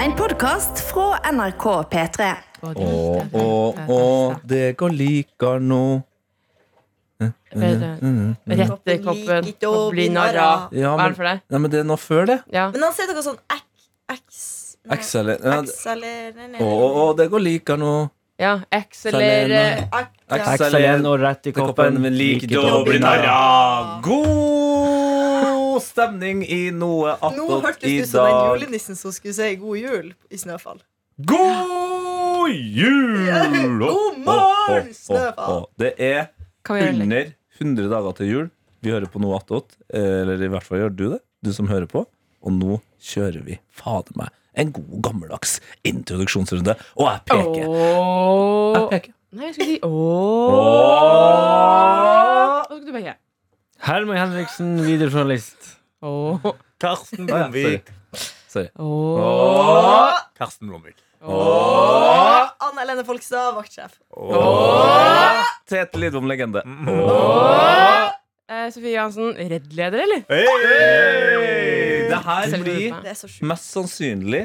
En podkast fra NRK P3. Og, og, og dere liker nå Mm, Rette koppen og bli narra. Ja, Hva er men, det for deg? nei, men det er noe før det. Ja. Men han sier noe sånn ek- eks... nei, Excellent. Ja, det- Akselererende. Å, å, å, dere liker nå ja. Akselere. Ak- Excellent. Excellent og rett i koppen. Koppen liker Liker å bli koppen. narra. God stemning i noe Nå attåt hørtes i du ut som den dag. julenissen som skulle si god jul i Snøfall. God jul! God morgen, Å, å, å, Snøfall. å. Det er Kan vi gjøre det? under 100 dager til jul. Vi hører på noe attåt. eh, Eller i hvert fall gjør du det, du som hører på. Og nå kjører vi, fader meg, en god gammeldags introduksjonsrunde. Og jeg peker. Åh. Jeg peker. Nei, jeg skulle si ååå. Åh. Hva skulle du peke? Herman Henriksen, videojournalist. Åh. Karsten Å, ja, Blomvik. Åh. Karsten Blomvik. Anna Helene Folkstad, vaktsjef. Tete Lidbom legende. Eh, Sofie Johansen, Redd-leder, eller? Hey, Det her Selv om du blir er på meg. Det er så sjukt. mest sannsynlig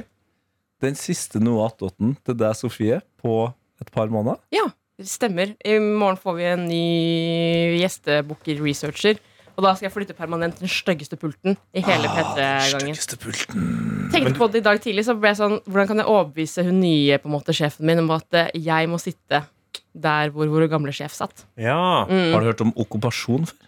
den siste Noe attåten til deg, Sofie, på et par måneder. Det Stemmer. I morgen får vi en ny gjestebooker-researcher. Og da skal jeg flytte permanent den styggeste pulten i hele Ah, P3-gangen. Styggeste pulten. Tenkte på det i dag tidlig, så ble jeg sånn Hvordan kan jeg overbevise hun nye på en måte sjefen min om at eh, jeg må sitte der hvor vår gamle sjef satt? Ja. Mm. Har du hørt om okkupasjon før?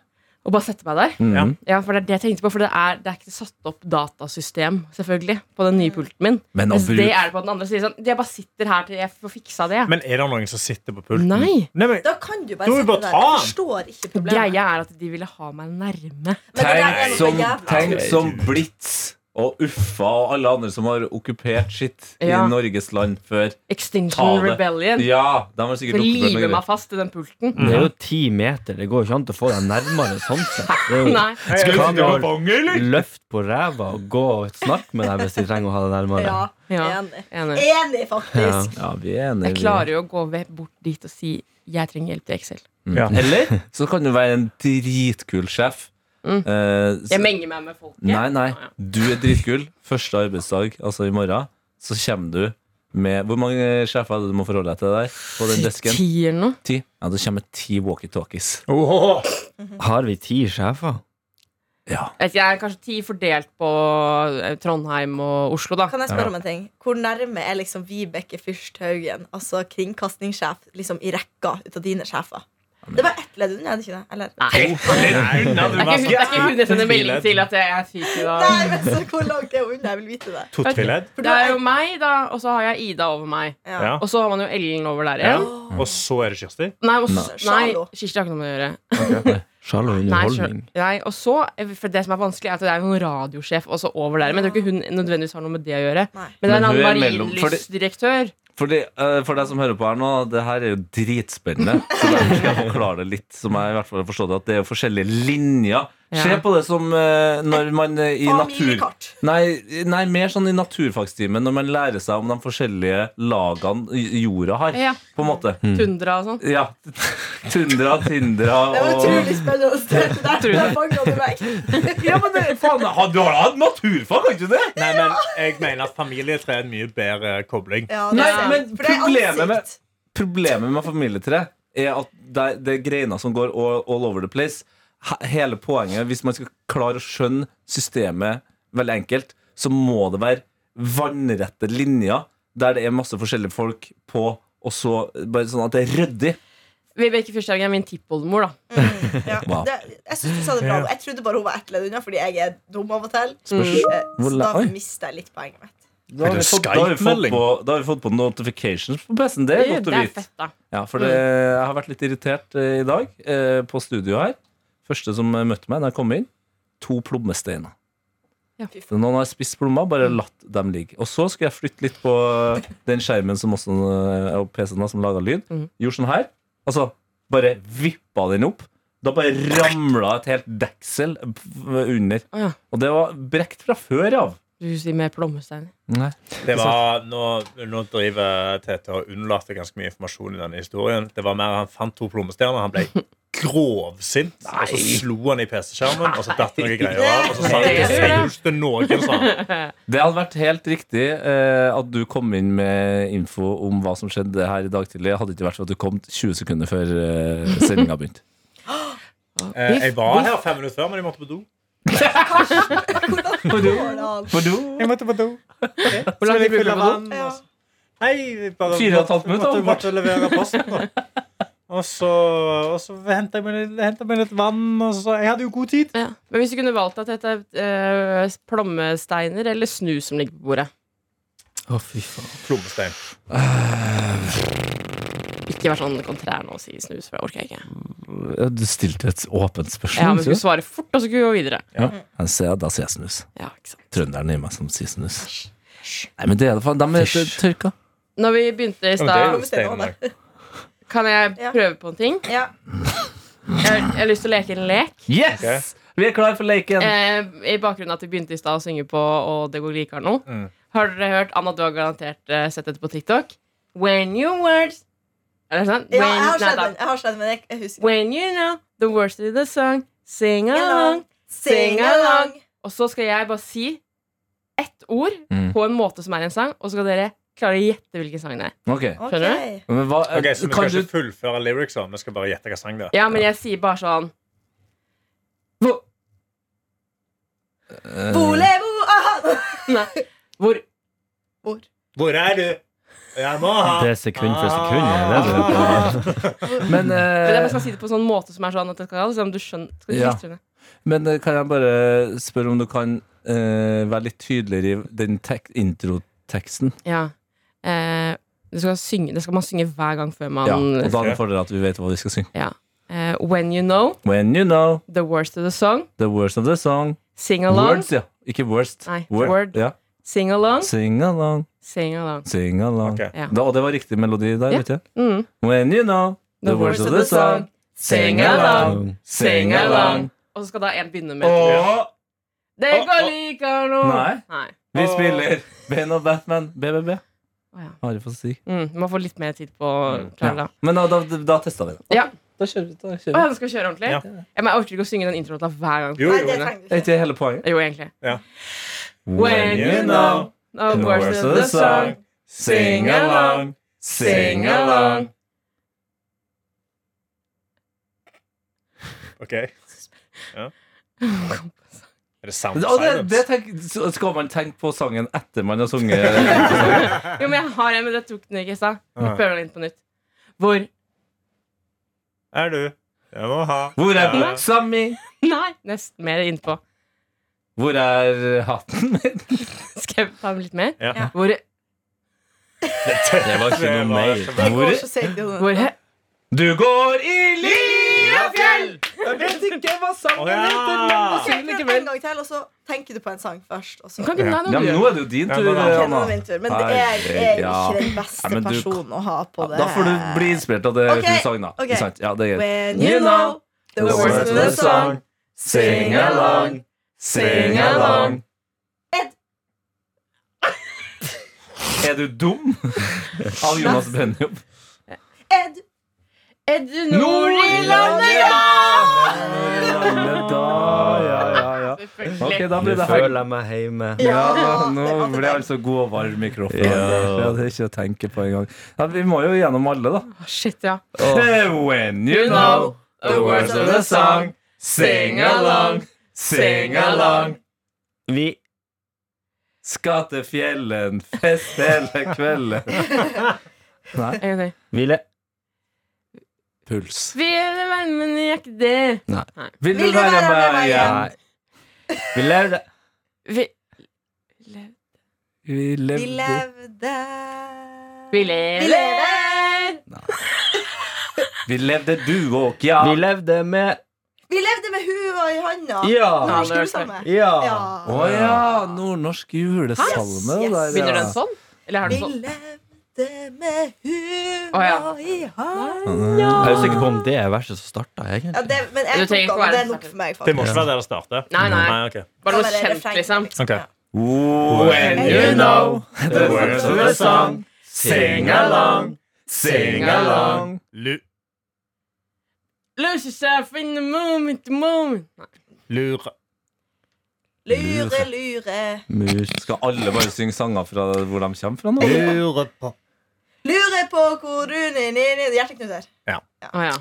Og bare sette meg der? Mm. Ja. Ja, for det er det jeg tenkte på. For det er, det er ikke satt opp datasystem, selvfølgelig, på den nye pulten min. Men å Mens Altså, det bruke er det på den andre siden. Sånn, jeg bare sitter her til jeg får fiksa det. jeg. Men er det noen som sitter på pulten? Nei. men, Da kan du bare Da må vi sitte bare ta der. Jeg han. forstår ikke problemet. Greia er at de ville ha meg nærme. Men det der er Tenk noe som, jævla. tenk som Blitz og Uffa og alle andre som har okkupert sitt Ja. i Norges land før. Extinction Ta det. Rebellion. Ja, de har sikkert For å okkupert live noe meg greier. fast i den pulten. Mm. Det er jo ti meter. Det går jo ikke an å få deg nærmere sånn sett. Det er jo Nei. skal Kan du ha du- bong, eller? Løft på ræva og gå og snakke med deg hvis de trenger å ha deg nærmere. Ja, Ja, enig. enig. Enig, Ja. faktisk. Ja, vi er Jeg enige. vi. klarer jo å gå ved- bort dit og si jeg trenger hjelp til Excel. Ja. Mm. Eller så kan du være en dritkul sjef. Mm. Eh, så- Jeg menger meg med folket. Nei, nei. Ja, ja. Du er dritkul. Første arbeidsdag, altså i morgen, så kommer du med Hvor mange sjefer er det du må forholde deg til der? På den desken? Ti eller noe. Ti? Ja, det kommer ti walkietalkies. Åh. Har vi ti sjefer? Ja. Jeg vet ikke, jeg er kanskje ti fordelt på eh, Trondheim og Oslo, da. Kan jeg spørre om en ting? Hvor nærme er liksom Vibeke Fyrst Haugen, altså kringkastingssjef, liksom i rekka ut av dine sjefer? Det var ett ledd unna, er det ikke det? Eller? Nei. Nei, unna, du, Det er ikke- det er ikke Maske. hun jeg sender melding til at jeg er fyr i dag. Nei, men så hvor langt er hun unna? Jeg vil vite det. To-tre ledd. For Det er jo du- meg, da, og så har jeg Ida over meg. Ja. Og så har man jo Ellen over der ja. igjen. Og så er det Kirsti. Nei, og, s- nei Charlo. Kirsti har ikke noe med det å gjøre. Sjalo Nei, skjø- underholdning. nei, og så, eh, for Det som er vanskelig, er at det er noen radiosjef også over der. Men jeg tror ikke hun nødvendigvis har noe med det å gjøre. Nei. Men det er en Men hun er annen mellom- marinlystdirektør. For, de, eh, for deg som hører på her nå, det her er jo dritspennende. Så derfor skal jeg forklare det litt, som jeg i hvert fall har forstått det, at det er jo forskjellige linjer. Ja. Se på det som eh, når man eh, i natur... Familiekart. Nei, nei, mer sånn i naturfagstimen, når man lærer seg om de forskjellige lagene j- jorda har, Ja, på en måte. Tundra og sånn. Ja. Tundra, Tindra Det var og utrolig spennende. Det der der fanget du meg. Ja, men det, faen, har- Du har da hatt naturfag, har du ikke det? Nei, men jeg mener at familietre er en mye bedre kobling. Ja, det Nei, er sant. men For det er problemet med- ansikt. Problemet med familietre er at det, er- det er greiner som går all, all over the place. He- Hele poenget, hvis man skal klare å skjønne systemet veldig enkelt, så må det være vannrette linjer der det er masse forskjellige folk på, og så bare sånn at det er ryddig. Vibeke Fyrsthagen er min tippoldemor, da. Ja, Wow. det, jeg synes du sa det bra. Jeg trodde bare hun var ett ledd unna, fordi jeg er dum av og til. Mm. Spørs- Eh, Hvor Så la- da Oi. mister jeg litt poenget mitt. Da har, vi det fått, da, har vi fått Skype-melding? på, da har vi fått på notifications på PC-en. Det er godt å det er vite. fett, da. Ja, for det, jeg har vært litt irritert eh, i dag eh, på studio her. Første som eh, møtte meg da jeg kom inn, to plommesteiner. Ja. Så Noen har spist plommer, bare latt dem ligge. Og så skulle jeg flytte litt på eh, den skjermen som også, eh, og PC-en da, som laga lyd. Mhm. Gjorde sånn her. Altså, bare vippa den opp. Da bare ramla et helt deksel eh, under. Å ja. Og det var brekt fra før av. Du sier med plommesteiner. Nei. Det var, nå, nå driver Tete og unnlater ganske mye informasjon i denne historien. Det var mer han fant to plommestjerner. Han ble grovsint, og så slo han i PC-skjermen, og så datt noen greier av, og så sa han Nei. ikke seriøst til noen sånn. Det hadde vært helt riktig eh, at du kom inn med info om hva som skjedde her i dag tidlig. Hadde det ikke vært for at du kom 20 sekunder før eh, sendinga begynte. Eh, Jeg var her fem minutter før, men jeg måtte på do. Jeg måtte på do. Hvor lang tid brukte du på do? Ja. Nei, jeg bare Fire og et halvt minutt, måtte, åpenbart. måtte levere posten. Da. Og så, og så henta jeg meg litt- hentet meg litt vann. Og så, jeg hadde jo god tid. Ja. Men hvis du kunne valgt at dette er eh, plommesteiner eller snu som ligger på bordet Å, fy faen. Plommestein. Ikke vær sånn kontrær nå og si snus, for det orker jeg ikke. Ja, Du stilte et Ja, åpent men spørsmål. vi skulle svare fort, og så skulle vi gå videre. Han ser, da sier jeg snus. Ja, ikke sant. Trønderen i meg som sier snus. Nei, men det er det faen. De er Fysj. tørka. Når vi begynte i Ja, men det er jo stad, steinen der. kan jeg Ja. prøve på en ting? Ja. Jeg har, jeg har lyst til å leke en lek. Yes! Vi er klar for leken. Eh, I bakgrunnen at vi begynte i stad å synge på Og det går likere nå. Mm. Har dere hørt Anna, du har garantert eh, sett dette på TikTok. When you words Er det sånn? ja, When- jeg har nei, sett da. den, jeg har sett den, men jeg, jeg husker When you know the words of the song, sing ikke. along. Sing along. Og så skal jeg bare si ett ord Mm. på en måte som er en sang, og så skal dere klare å gjette hvilken sang det er. Ok. Ok. Skjønner Men hva, Ok, så vi skal kan du ikke fullføre lyricsa, vi skal bare gjette hva sang det er. Ja, men jeg sier bare sånn Hvor, Eh, Bolevo, aha! nei, hvor Hvor er du? Jeg må ha Det er sekund for sekund. er det det du- Men, eh, Men jeg bare skal si det på en sånn måte som er sånn at det skal, liksom, du skjønner skal du Ja. liste det? Men eh, kan jeg bare spørre om du kan eh, være litt tydeligere i den tek introteksten? ja. Eh, det, skal synge, det skal man synge hver gang før man Ja, og da er Ja. det fordel at vi vet hva vi skal synge. eh, When you know When you know the words of the song, the words of the song. sing along, Words, ja. Ikke worst. Nei, Wor- word. Ja. sing along, Sing along, sing along. sing along. Ok. Ja. Da, og det var riktig melodi der, Ja. vet jeg. Mm. When you know the, words of the song. Sing along, sing along. Og så skal da en begynne med Og Det Å, går å. like nå Nei. Nei. vi spiller Ben og Batman, BBB. Å, ja. Are for si. Mm, man får litt mer tid på å Mm. klare det. Men da, da, da testa vi det. Ja. Da kjører vi. Da Å, kjører vi. du skal kjøre ordentlig? Ja. Ja, men jeg orker ikke å synge den introlåta hver gang. Jo, Nei, jo, det jo. trenger du Er ikke. ikke det hele poenget? Jo, egentlig. Ja. When you know the words of the song, sing along, sing along. Ok. Ja. Er det Sound Og Altså, det, det Silence? tenk, så skal man tenke på sangen etter man har sunget? Jo, men jeg har en, men det tok den ikke i stad. Ja. Prøver den inn på nytt. Hvor Er du? Jeg må ha Hvor er Ja. Sammy? Nei! Nesten mer innpå. Hvor er hatten min? Skal jeg ta den litt mer? Ja. Ja. Hvor, Det var ikke noe mer. Det går Hvor- så seigt i hodet. hvor Du går i Liafjell! Jeg vet ikke hva sangen Å, ja. heter, men da Ok, synger vi prøv likevel. En gang til, og så tenker du på en sang først. Og så. Kan ikke Ja. nei, Ja, nå men gjør jeg nå det. er det jo din Ja, tur, nå er det- Ok, nå Anna. er det min tur. Men jeg er Ja. ikke den Nei, beste men du- personen å ha på det. Da får du bli inspirert av det Ok, hun sang, da. ok. Ikke sant? Ja, det er greit. When you know the words of the song, sing along. Sing along. Er du dum? Av Jonas Brennjobb. Ed, Er du nord i landet? Ok, Selvfølgelig. da Nå blir det føler jeg meg hjemme. Ja, nå ble jeg altså god og varm i kroppen. Ja. Ja, det er ikke å tenke på engang. Ja, vi må jo gjennom alle, da. Å, Shit, ja. Eh, When you know the words of the song, sing along, sing along. Vi Skal til fjellen, fest hele kvelden. Nei, En gang til. ville puls. Vi er varmen i jakke det. Vil du være med igjen? Nei. Vi levde Vi, Vi vi levde levde vi lever. Vi lever. Vi levde du og Vi jeg. levde med Vi levde med hua i handa. Ja! Norsk julesalme. Ja! Å Ja. ja, nordnorsk julesalme. Yes, yes. der, ja. Begynner den sånn? Eller har Vi den sånn? levde med Å, hua ja. i handa. Jeg er usikker på om det er verset som starta, Ja, egentlig. det, men Du jeg trenger ikke tok den. være Det er nok for meg, Det faktisk. må ikke være der det starter? Nei, nei. Nei, ok. Bare noe Ja, men det er kjent, refrenget, liksom. Ok. Ja. When you know the words of the song, Sing sing along, sing along. Lu Lose yourself in the moment, the moment. Nei. Lure. Lure, lure. Mus. Skal alle bare synge sanger fra hvor de kommer fra nå? Lure på. Lure på hvor du ni, ni, ni. Hjerteknuser. Å ja.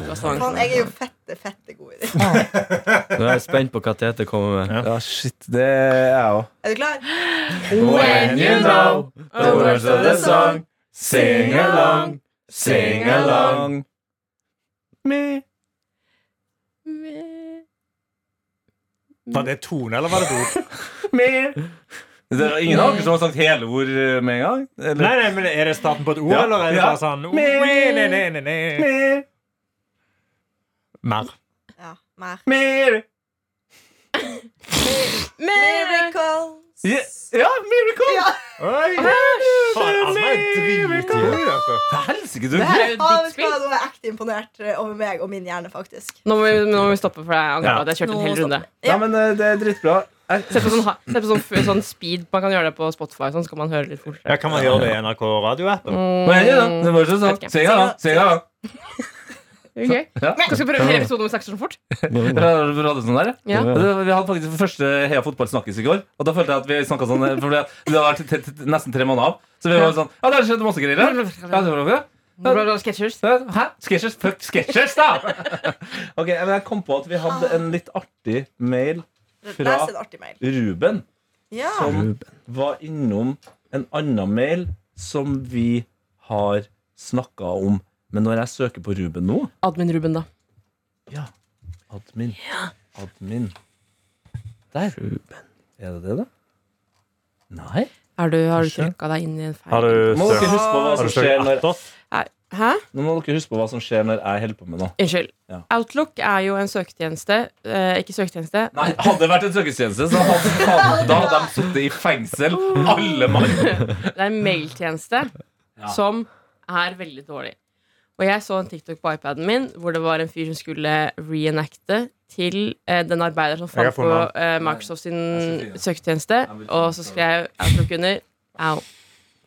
Lukas Vang. Faen, jeg er jo fette, fette god i det. Nå er jeg spent på hva Tete kommer med. Ja, shit, det er jeg òg. Er du klar? When you know the words of the song, sing along, sing along. Me. Var det tone, eller var det ord? Me. Det er ingen av dere som har sagt hele ord eh, med en gang? Eller? nei, nei, men Er det starten på et ord, Ja. eller er det Ja. bare sånn Me. "Oi, ne, ne, ne, ne." Me, Mer. Ja, mer. me. Miracles. Ja, ja, miracle! Ja. Oi! Faen, Asma er dritgod i altså. dette. Helsike, du! Det her er jo Ah, ditt vet du spill. hva, Nå er jeg ekte imponert eh, over meg og min hjerne, faktisk. Nå må vi, nå må vi stoppe, for jeg angrer Ja. på at jeg kjørte en Nå hel runde. Nei, men eh, det er dritbra. Jeg- Se på sånn, ha- se på sånn, f- sånn speed. Man kan gjøre det på Spotify, sånn, så kan man høre litt fortere. Ja, Kan man gjøre det i NRK radio etterpå? When you know the words of the Vet ikke. song, sing along, sing along. Ok. Ja. Skal vi prøve hele episoden om vi snakker sånn fort? Ja. Fra- fra radioen sånn der, ja. Ja. Og det- Vi hadde faktisk første Heia Fotball snakkes i går. Og da følte jeg at vi snakket sånn eh, For det det hadde vært te- te- nesten tre måneder av. Så vi var sånn Ja, det har skjedd masse greier her. Ja, det var det. Bra, bra, Sketchers. Hæ? Sketches? Fuck Sketches, da! ok, men Jeg kom på at vi hadde en litt artig mail. Fra- Les en artig mail. Ruben Ja. som var innom en annen mail som vi har snakka om. Men når jeg søker på Ruben nå Admin Ruben, da. Admin. Admin. Der. Er det det, da? Nei. Er du, har du Kanskje. trykka deg inn i en feil Har du Nå må dere søkt huske på hva har som du skjer søkt når, atter? Er, hæ? nå må dere huske på hva som skjer når jeg holder på med noe. Unnskyld. Ja. Outlook er jo en søketjeneste. Eh, ikke søketjeneste. Nei, Hadde det vært en søkestjeneste, så hadde, hadde, da hadde de sittet i fengsel, alle mann. Det er en mailtjeneste Ja. som er veldig dårlig. Og jeg så en TikTok på iPaden min hvor det var en fyr som skulle reenacte til eh, den arbeideren som Jeg har fant på funnet eh, Microsoft sin Jeg skal søketjeneste. Jeg vil finne Og så ut av skrev Outlook under. Au.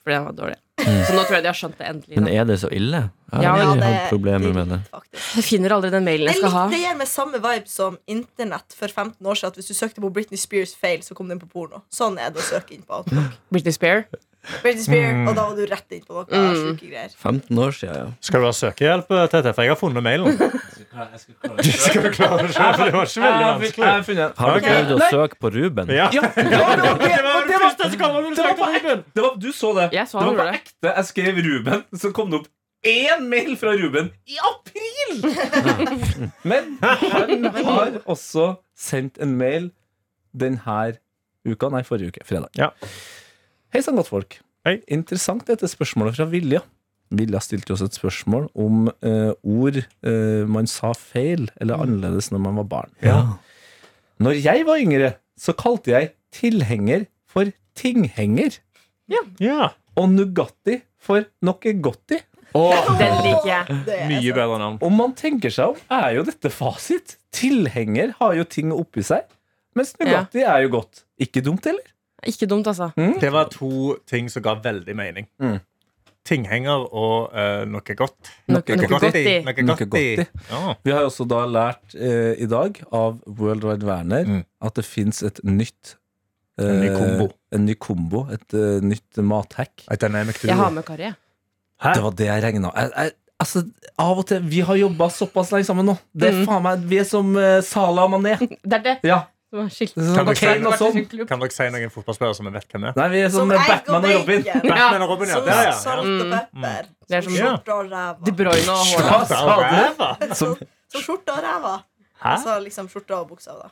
Fordi den var dårlig. Så nå tror jeg de har skjønt det endelig. Men Da. er det så ille? Jeg Ja, har det aldri hatt problemer med det. Faktisk. Jeg finner aldri den mailen Det, jeg er skal ha. litt, det gir meg samme vibe som internett for 15 år siden. At hvis du søkte på Britney Spears feil, så kom den på porno. Sånn er det å søke inn på Outlook. Britney Spears. Britney Spears, Mm. Og da var du rett inn på noe Mm. sjuke greier. 15 år siden, ja. Skal du ha søkehjelp, TT? For jeg har funnet mailen. Du skal klare det selv, for det var ikke veldig Jeg vanskelig. har funnet Har du Ok. prøvd å Nei. søke på Ruben? Ja. Ja, det var, det var, det var, det var, som kom når du det var på ekte! Det var, du så det. Jeg så det han var på gjorde det. ekte. Jeg skrev Ruben, så kom det opp én mail fra Ruben i april! Men han har også sendt en mail denne uka, nei, forrige uke, fredag. Ja. Hei sann, godt folk. Hei. Interessant dette spørsmålet fra Vilja. Vilja stilte oss et spørsmål om eh, ord eh, man sa feil eller annerledes når man var barn. Når jeg var yngre, så kalte jeg tilhenger for tinghenger. Ja. Og Nugatti for noe gotti. Den liker jeg. Det er Mye sant. bedre navn. Om man tenker seg om, er jo dette fasit. Tilhenger har jo ting oppi seg. Mens Nugatti er jo godt. Ikke dumt, heller. Ikke dumt, altså. Det var to ting som ga veldig mening. Mm. Tinghenger og eh, noe godt. Noe, noe godt i. Noe Noe godt i. godt i. Ja. Vi har jo også da lært eh, i dag av World Wide Werner Mm. at det fins et nytt eh, En ny kombo. En ny kombo, et eh, nytt mathack. Et dynamic duo. Jeg har med Kari. jeg. Hæ? Det var det jeg regna. Jeg, jeg, altså, av og til Vi har jobba såpass lenge sammen nå. Det er Mm. faen meg Vi er som uh, Sala og Mané. Det er det Ja. som er skilt. Det er Kan sånn, du Kane og sånn. Kan dere si noen fotballspillere som vi vet hvem er? Nei, vi er som, Som eh, egg og Batman og Robin. bacon. Batman og Robin, ja. sånn Som Der, ja. salt og pepper. Mm. Det er Som som- skjorte og ræva. De Bruyne og Haaland. Hva sa du? Hæ? Som som skjorte og ræva. Altså liksom skjorta og buksa, da.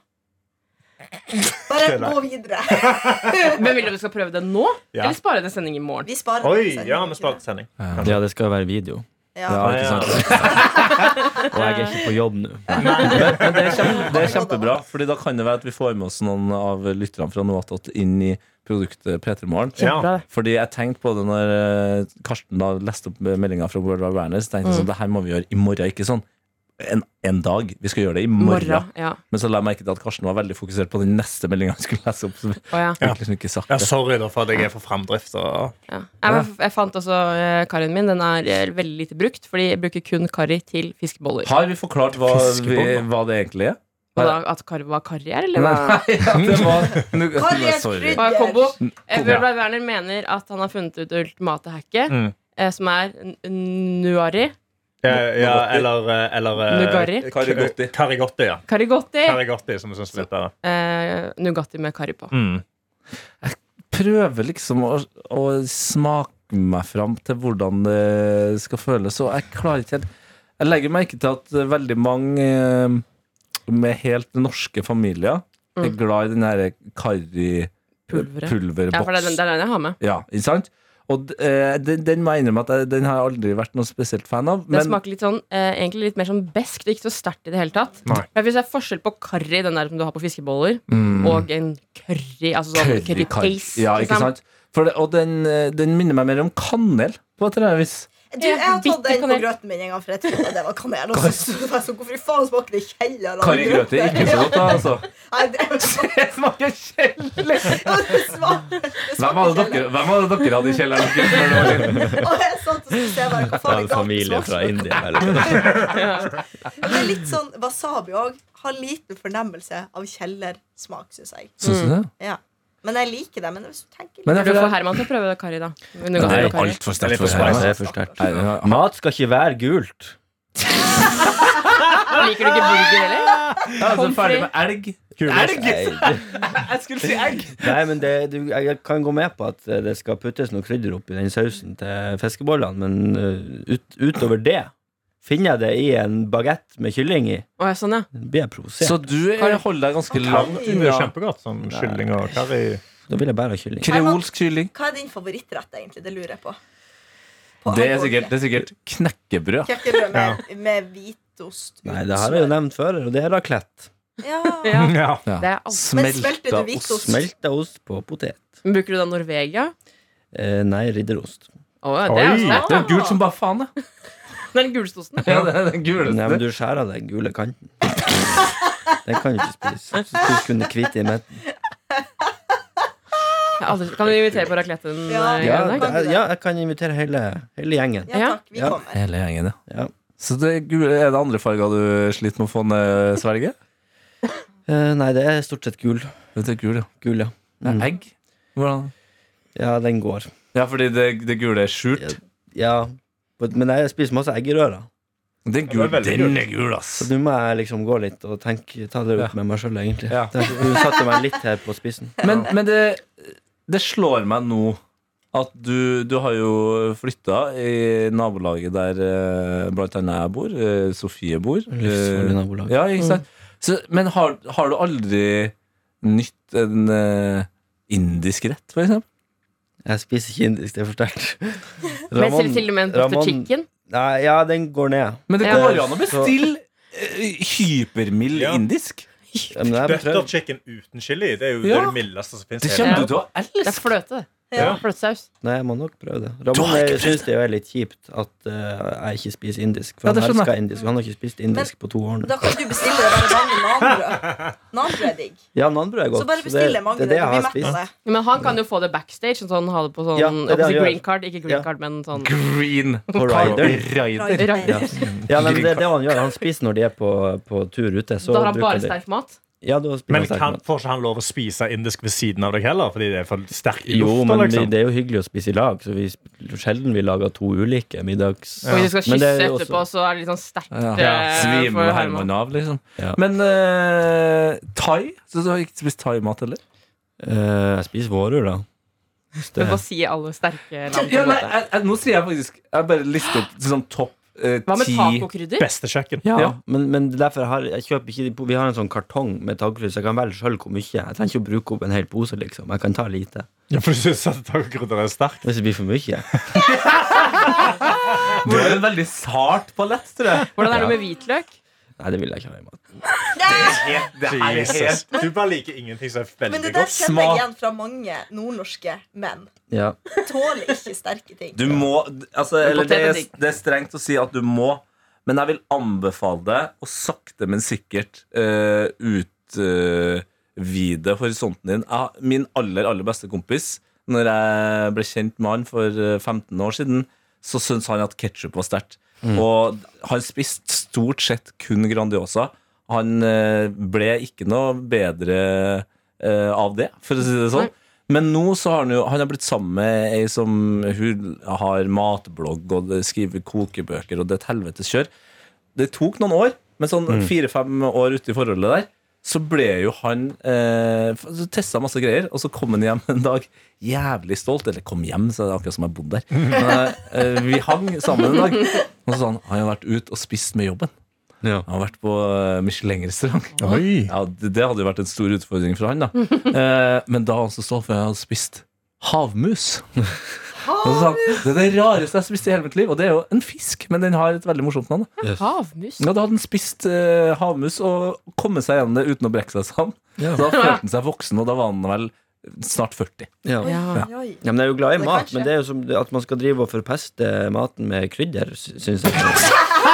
Bare Kødda. gå videre. Hvem vil du at vi skal prøve det nå? Ja. Eller spare det sending i morgen? Vi sparer Oi, sendingen, ja, ikke vi sparte sending. Ja, det skal være video. det? Ja. Ja, ja. ikke sant? Og jeg er ikke på jobb nå. Men, men det, er kjempe, det er kjempebra, Fordi da kan det være at vi får med oss noen av lytterne fra Noatot inn i produktet P3 Morgen. Ja. Fordi jeg tenkte på det når eh, Karsten da leste opp meldinga fra World Wide Werner, så tenkte jeg sånn, det her må vi gjøre i morgen, ikke sånn en, en dag. Vi skal gjøre det i morgen. Morra. Ja. Men så la jeg merke til at Karsten var veldig fokusert på den neste meldinga han skulle lese opp. Så jeg Å, ja. fikk liksom ikke sagt Ja, det. sorry da for at jeg er for framdrift. Og... Ja. Jeg, jeg, jeg fant også eh, karrien min. Den er eh, veldig lite brukt, fordi jeg bruker kun karri til fiskeboller. Har vi forklart hva, vi, Fiskeboller. hva det egentlig er? Og da, at karri var karri her, eller? Nei, hva? ja, det var nu, Karri er Sorry. skrydd. Hva er kombo? Eh, Ja. Bjørn Werner mener at han har funnet ut det ultimate hacket, Mm. eh, som er n- nuari. Ja, ja, eller, eh, eller eh, Nugari? Karigotti. Karigotti, ja. Karigotti. Karigotti, som jeg syns er litt bedre. Eh, Nugatti med karri på. Mm. Prøver liksom å, å smake meg fram til hvordan det skal føles, og jeg klarer ikke helt Jeg legger merke til at veldig mange eh, med helt norske familier er Mm. glad i den derre Pulveret. karri-pulverboks. Ja, for det er den, det er den jeg har med. Ja, ikke sant? Og d- eh, den, den må jeg innrømme at jeg, den har jeg aldri vært noen spesielt fan av. Den Men smaker litt sånn, eh, egentlig litt mer sånn beskt, ikke så sterkt i det hele tatt. Nei. Men hvis det er forskjell på karri, den der som du har på fiskeboller, Mm. og en curry, altså sånn curry Curry-kar- paste. Ja, ikke liksom. sant? For det, og den, eh, den minner meg mer om kanel. På et eller annet vis. Du, jeg har tatt Bitter den på kanel. grøten min en gang, for jeg trodde at det var kanel. Og så, så, var jeg sånn, hvorfor i faen smaker det kjeller? av Kari Grøte er ikke så godt, da. Altså. Nei, det, Det smaker kjell. det smaker, det Hvem var det dere, hvem var det dere hadde i kjelleren? gutt, når dere var liten? Og jeg satt og syntes jeg bare, hva Det faen er er en galt familie med fra smaksprøk? India. Eller? Det er litt sånn wasabi òg. Har liten fornemmelse av kjellersmak, syns jeg. Syns du det? Ja. Men jeg liker det. Men hvis du tenker Men litt jeg, Du føler- får Herman til å prøve det karri, da. Nugatti det med er karri. altfor Det er sterkt litt for for Herman. spicy. Det er for sterkt. Nei, den har- Mat skal ikke være gult. Liker du ikke burger heller? Jeg er altså ferdig med elg. Elg! Jeg skulle si egg. Nei, men det, du, jeg kan gå med på at eh, det skal puttes noe krydder opp i den sausen til fiskebollene, men eh, ut, utover det finner jeg det i en bagett med kylling i. Å, ja, sånn, ja. Blir jeg provosert. Så du eh, holder deg ganske langt Det er unna kjempegodt. Sånn kylling og karri. Da vil jeg bare ha kylling. kreolsk kylling. Hva er din favorittrett, egentlig? Det lurer jeg på. På Det er alkohol. sikkert, det er sikkert knekkebrød. Knekkebrød med, med hvitost. uten Nei, det har jeg jo smør. nevnt før, og det er raclette. Ja. ja. Ja. Ja. Det er alt. Men smelter du Smelta hvitost? ost. Smelta ost på potet. Men bruker du da Norvegia? Eh, nei, ridderost. Å, ja, det er Oi. jo sterkt. Det er gult som bare faen, det. Det er den gulstosten. Ja, det er den Nei, men guleste. du skjærer av den gule kanten. Den kan du ikke spise. Så skal du kunne kvite i midten. Jeg har aldri- Kan du invitere på racletten? Ja. eh, Ja, Grønberg? det er- ja, jeg kan invitere hele, hele gjengen. ja takk, vi Ja. kommer. Hele gjengen, ja. Ja. Så det er, gule, er det andre farger du sliter med å få ned svelget? Eh, nei, det er stort sett gul. Det er gul, ja. Gul, ja. Mm. Egg? Hvordan? Ja, den går. Ja, fordi det, det gule er skjult. Ja, men jeg spiser masse eggerører. Den, Ja, gul, det er veldig den gult. er gul, ass! Så nå må jeg liksom gå litt og tenke, ta det Ja. ut med meg sjøl, egentlig. Ja. Det- Du satte meg litt her på spissen. Men, men det, det slår meg nå at du, du har jo flytta i nabolaget der eh, blant annet jeg bor. eh, Sofie bor. Eh, Livsfarlig nabolag. Ja, ikke sant? Så, men har, har du aldri nytt en eh, indisk rett, for eksempel? Jeg spiser ikke indisk, det er for sterkt. Men til, til og med en Dr. Ramon- Chicken. Nei, ja, den går ned. Men det Ja. går jo an å Så- bestille eh, hypermild Ja. indisk. Ja, men jeg har Butter prøvd. chicken uten chili, det er jo det, Ja. er det mildeste som fins. Det kommer Ja. du til å Det er elske. fløte, det. Ja. Fløtesaus. Nei, jeg må nok prøve det. Du har ikke Ramón prøvd syns det er litt kjipt at eh, jeg ikke spiser indisk. For Ja, det han skjønner elsker indisk. Han har ikke spist indisk på to år nå. Da kan du bestille deg bare vanlig nanbrød. Nanbrød er digg. Ja, nanbrød er Så godt. bare det, bestill det deg mange. er det jeg Du har blir mett av spist. det. Men han kan jo få det backstage. Sånn, sånn, ha det på sånn Ja, det er det jeg holdt på å si han gjør. green card. Ikke green Ja. card, men sånn Green På rider. rider. Da Ja, men det er det han gjør. Han spiser når de er på, på tur ute. Så har han bruker bare de- sterk mat. Ja, da spiser Men han sterk kan, mat. får ikke han lov å spise indisk ved siden av deg heller? Fordi det er for sterk i Jo, lufta, men vi, liksom. det er jo hyggelig å spise i lag, så vi sp- sjelden vi lager to ulike middags... Og hvis du skal kysse Men det er jo også- etterpå, så er det litt sånn sterkt. Ja. eh, for Herman. Svimer Herman av, liksom. Ja. Men eh, thai? Så du har ikke spist thaimat heller? Eh, jeg spiser vårrull, da. Men hva sier alle sterke land? på Ja, en nei, måte? jeg, jeg, nå sier jeg faktisk Jeg bare lister opp sånn topp eh, Hva med ti tacokrydder? Beste kjøkken. Ja, Ja. Men, men det er derfor jeg, har, jeg kjøper ikke de po- Vi har en sånn kartong med taggkrydder, så jeg kan velge sjøl hvor mye. Jeg trenger ikke å bruke opp en hel pose, liksom. Jeg kan ta lite. Ja, for du syns at tacokrydder er sterkt? Hvis det blir for mye. Det er en veldig sart palett, tror jeg. Hvordan er det med hvitløk? Nei, det vil jeg ikke ha i mat. Det er Jesus. Du bare liker ingenting som er Men det der veldig godt. kjenner Smak. jeg igjen fra mange nordnorske menn. Ja. Tåler ikke sterke ting. Du må altså, eller potet det, er, er digg. det er strengt å si at du må, Men jeg vil anbefale deg å sakte, men sikkert eh, utvide horisonten din. Jeg, min aller, aller beste kompis, når jeg ble kjent med han for eh, 15 år siden, så syntes han at ketsjup var sterkt. Og han spiste stort sett kun Grandiosa. Han eh, ble ikke noe bedre eh, av det, for å si det sånn. Men nå så har han jo Han har blitt sammen med ei som Hun har matblogg og det- skriver kokebøker og det er et helvetes kjør. Det tok noen år, men sånn fire-fem år ute i forholdet der, så ble jo han eh, Så testa masse greier, og så kom han hjem en dag jævlig stolt. Eller kom hjem, så er det akkurat som jeg bodde der. Men, eh, vi hang sammen en dag, og så sa han han har vært ute og spist med jobben. Ja. Han har vært på eh, Michelin-restaurant. Oi. Ja, det, det hadde jo vært en stor utfordring for han, da. Eh, men da var han så stolt, for jeg hadde spist havmus. Og så sa han, Det er det rareste jeg har spist i hele mitt liv, og det er jo en fisk, men den har et veldig morsomt navn. da. Havmus. Ja, da hadde han spist eh, havmus og kommet seg gjennom det uten å brekke seg sammen. Så Da følte han seg voksen, og da var han vel snart 40. Ja. Ja. Oi. Ja, men Jeg er jo glad i Det mat, kan skje. men det er jo som det- at man skal drive og forpeste maten med krydder, sy- syns jeg.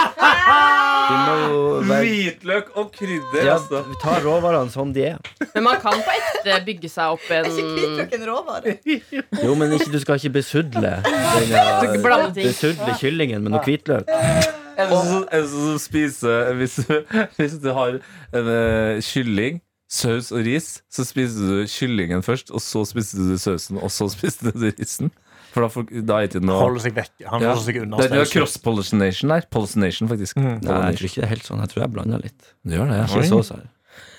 De må jo være Hvitløk og krydder, ja, Ta råvarene som de er. Men man kan på ekte bygge seg opp Er ikke en hvitløk en råvare? Jo, men ikke, du skal ikke besudle denne, blande ting. besudle kyllingen med noe hvitløk. En som, en som spiser hvis, du- hvis du har en, eh, kylling, saus og ris, så spiser du kyllingen først, og så spiser du sausen, og så spiser du risen. For da, får, da er det ikke noe Holder seg vekk. Han Ja. holder seg unna. Det er, det er stausen. cross-pollination der. Pollination, faktisk. Mm. Nei, jeg tror ikke det er helt sånn. Jeg tror jeg blander litt. Det gjør det. Ikke ja. sås her.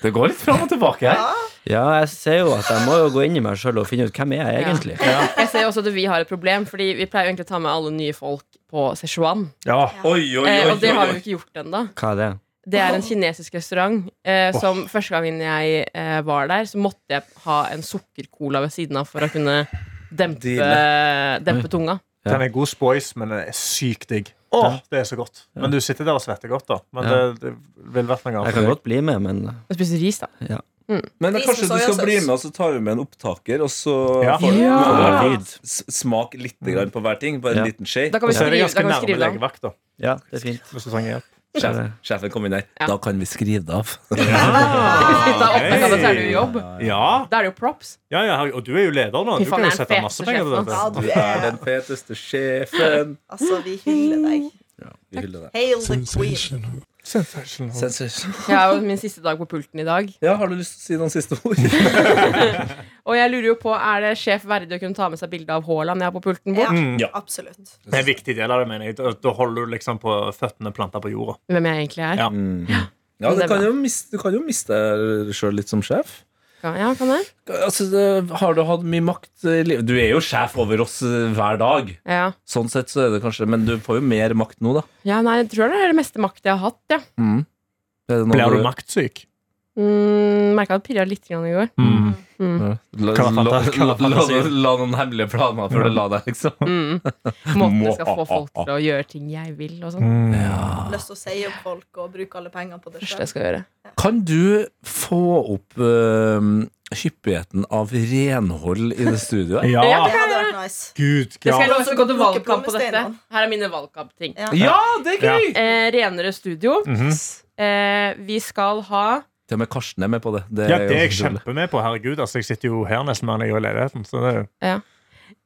Det går litt fram og tilbake her. Ja, jeg ser jo at jeg må jo gå inn i meg sjøl og finne ut hvem jeg er egentlig. Jeg ser også at vi har et problem, Fordi vi pleier jo egentlig å ta med alle nye folk på Sichuan. Ja. Oi, oi, oi, Eh, og det oi, har vi oi. jo ikke gjort ennå. Hva er det? Det er en kinesisk restaurant eh, som første gangen jeg eh, var der, så måtte jeg ha en sukkercola ved siden av for å kunne dempe, dempe tunga. Den er god spoils, men den er sykt digg. Åh, det er så godt. Men du sitter der og svetter godt, da. Men Ja. det, det vil vært noe Jeg annet. kan for deg. godt bli med, men Og spise ris, da. Men Ris med kanskje du skal soyasaus. bli med, og så tar vi med en opptaker, og så Ja. får du Ja. får du Lyd. s- smak lite grann på hver ting. Bare en Ja. liten skje. Da kan vi Så er det skrive, da ganske kan vi nærme skrive det. legevakt, da. ja, det er fint. Hvis du trenger hjelp. Sjef, sjefen kom inn der. Ja. Da kan vi skrive det av. Litt av opplegget av at det er jo jobb. Ja, Da er det jo props. ja, ja, herregud. og du er jo leder nå. Fy faen, Du kan jo jeg er sette fet masse som penger sjef, altså. til dette. Ja, du Er er den feteste sjefen. Altså, vi hyller deg. Vi hyller deg. Hail the queen. Jeg har jo min siste dag på pulten i dag. Ja, har du lyst til å si noen siste ord? Og jeg lurer jo på, er det sjef verdig å kunne ta med seg bilde av Haaland jeg har på pulten Ja, bort? Mm. Ja. absolutt. Det er en viktig del av det, mener jeg. Da- Da holder du liksom på føttene planta på jorda. Hvem jeg egentlig er? Ja. Mm. Ja, Det du er kan bra. jo miste, du kan jo miste deg sjøl litt som sjef. Kan- Ja, kan jeg? Altså, det, har du hatt mye makt eh, i livet? Du er jo sjef over oss eh, hver dag. Ja. Sånn sett så er det kanskje Men du får jo mer makt nå, da. ja, nei, jeg tror det er det meste makt jeg har hatt, ja. Er det noe Blir du maktsyk? Mm, Merka det pirra litt grann i går. Ja. La, Kan jeg la, fanta- la, kan jeg la, fantasere? la noen hemmelige planer før du la deg, liksom. Mm. Måten jeg skal få folk til å gjøre ting jeg vil, og sånn. Mm. Lyst til å si opp folk og bruke alle pengene på det Første jeg selv. skal gjøre. Kan du få opp eh, hyppigheten av renhold i det studioet? Ja, Det hadde vært nice. gud. Det skal jeg Ja. love, jeg skal gå til valgkamp på dette. Plukke Her er mine valgkampting. Ja. det er gøy! Eh, renere studio. Mhm. Eh, vi skal ha Til og med Karsten er med på det. Ja, det er jeg jo utrolig. kjempemed på. Herregud, altså, jeg sitter jo her nesten mer enn jeg gjør i leiligheten. Så det er jo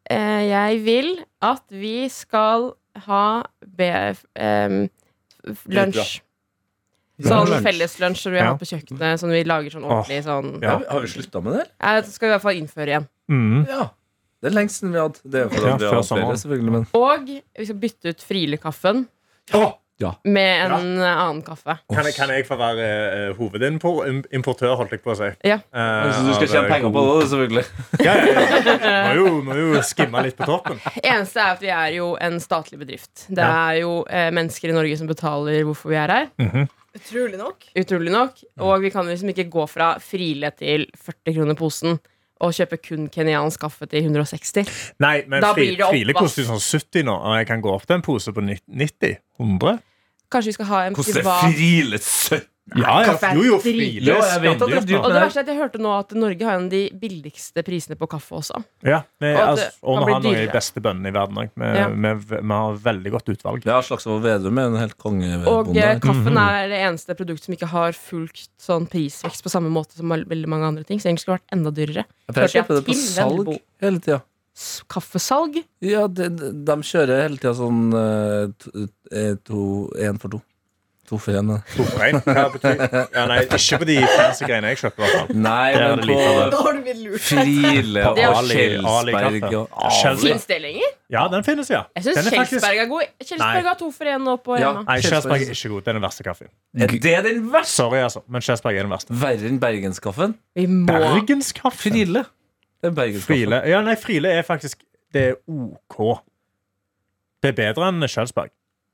eh, Jeg vil at vi skal ha BF, eh, f- lunsj. Sånn Lunsj. felleslunsj som vi Ja. har på kjøkkenet. Som vi lager sånn Åh. ordentlig sånn. Ja. Ja, har vi slutta med det? Jeg skal i hvert fall innføre igjen. mm. Ja. Det er lengst siden vi har hatt det. Er fordi Ja, vi før har hatt sommeren. flere, selvfølgelig, men Og vi skal bytte ut Friele-kaffen ja. med en annen kaffe. kan, jeg- kan jeg få være eh, hovedimportør, holdt jeg på å si. Ja. Eh, Så du skal av, tjene eh, penger på det, selvfølgelig. Ja, ja, ja. Må, jo, må jo skimme litt på toppen. Eneste er at vi er jo en statlig bedrift. Det Ja. er jo eh, mennesker i Norge som betaler hvorfor vi er her. Utrolig nok. Utrolig nok. Og vi kan liksom ikke gå fra Friele til 40 kroner posen og kjøpe kun kenyansk kaffe til 160. Nei, men Da fri, blir det oppvask. Friele koster jo sånn 70 nå, og jeg kan gå opp til en pose på 90? 100? Kanskje vi skal ha en Hvordan er privat Friele 70 Ja, ja. Jo, jo, frilig. Jo, jeg vet at det er dyrt. Og det verste er at jeg hørte nå at Norge har en av de billigste prisene på kaffe også. Ja, vi, Og altså, det og kan vi bli har noen av de dyrere. beste bøndene i verden òg. Vi, Ja. vi, vi har veldig godt utvalg. Ja, Slagsvold Vedum er en helt Og eh, kongebonde. kaffen er det eneste produktet som ikke har fulgt sånn prisvekst på samme måte som mal- veldig mange andre ting. Så egentlig skulle det vært enda dyrere. Jeg pleier å hørte kjøpe jeg det på til salg Vennebo. hele tida. S- Kaffesalg? Ja, de, de, de kjører hele tida sånn eh, t- eh, to- én for to. To for én. da. Torrein. Ja, betyr- ja, nei, ikke på de fancy greiene jeg kjøper. i hvert fall. Nei, Det er men det lite på Da har du blitt lurt. Friele På og Ali- Kjelsberg Ali-kaffe. og Kjelsberg. Ali. Fins det lenger? Ja, den finnes, ja. Jeg syns Den er faktisk- Kjelsberg er god. Kjelsberg har to for én nå på Ja. Rema. Nei, Kjelsberg er ikke god. Det er den verste kaffen. Er det den verste? Sorry, altså, men Kjelsberg er den verste. Verre enn bergenskaffen? Vi må Bergenskaffe? Friele. Det er bergenskaffen. Friele. Ja, nei, Friele er faktisk Det er OK. Det er bedre enn Kjelsberg.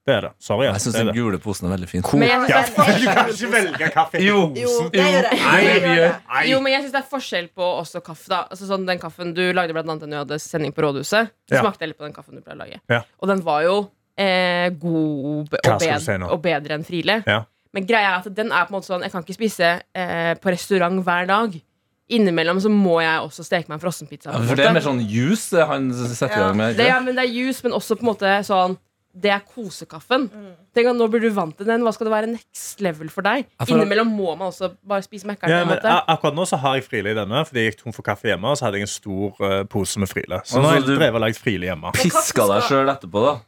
Det er det. Sorry. Jeg Altså, syns det den er det. gule posen er veldig fin. Men jeg Ja, synes det er- faen, du kan ikke velge kaffe. Jo. Jo, det gjør jeg. Det gjør jeg. Nei. Jo, men jeg synes det er forskjell på også kaffe. da altså, sånn, Den kaffen du lagde blant annet da du hadde sending på Rådhuset, så Ja. smakte jeg litt på den kaffen du pleide å lage. Ja. Og den var jo eh, god be- Hva og, skal du bed si nå? og bedre enn Friele. Ja. Men greia er at den er på en måte sånn jeg kan ikke spise eh, på restaurant hver dag. Innimellom så må jeg også steke meg en frossenpizza. på en For det er måte. mer sånn juice det han setter i gang med. det, ikke er, men det er juice, men også på en måte sånn det er kosekaffen. Tenk at Nå blir du vant til den. Hva skal det være next level for deg? Ja, for- Innimellom må man også bare spise Mækkern. på Ja, en men måte. a- akkurat nå så har jeg Friele i denne, fordi jeg gikk tom for kaffe hjemme. Og så hadde jeg en stor eh, pose med Friele. Så Altså, nå har jeg du- drevet og lagd Friele hjemme. det? Piska deg sjøl etterpå, da.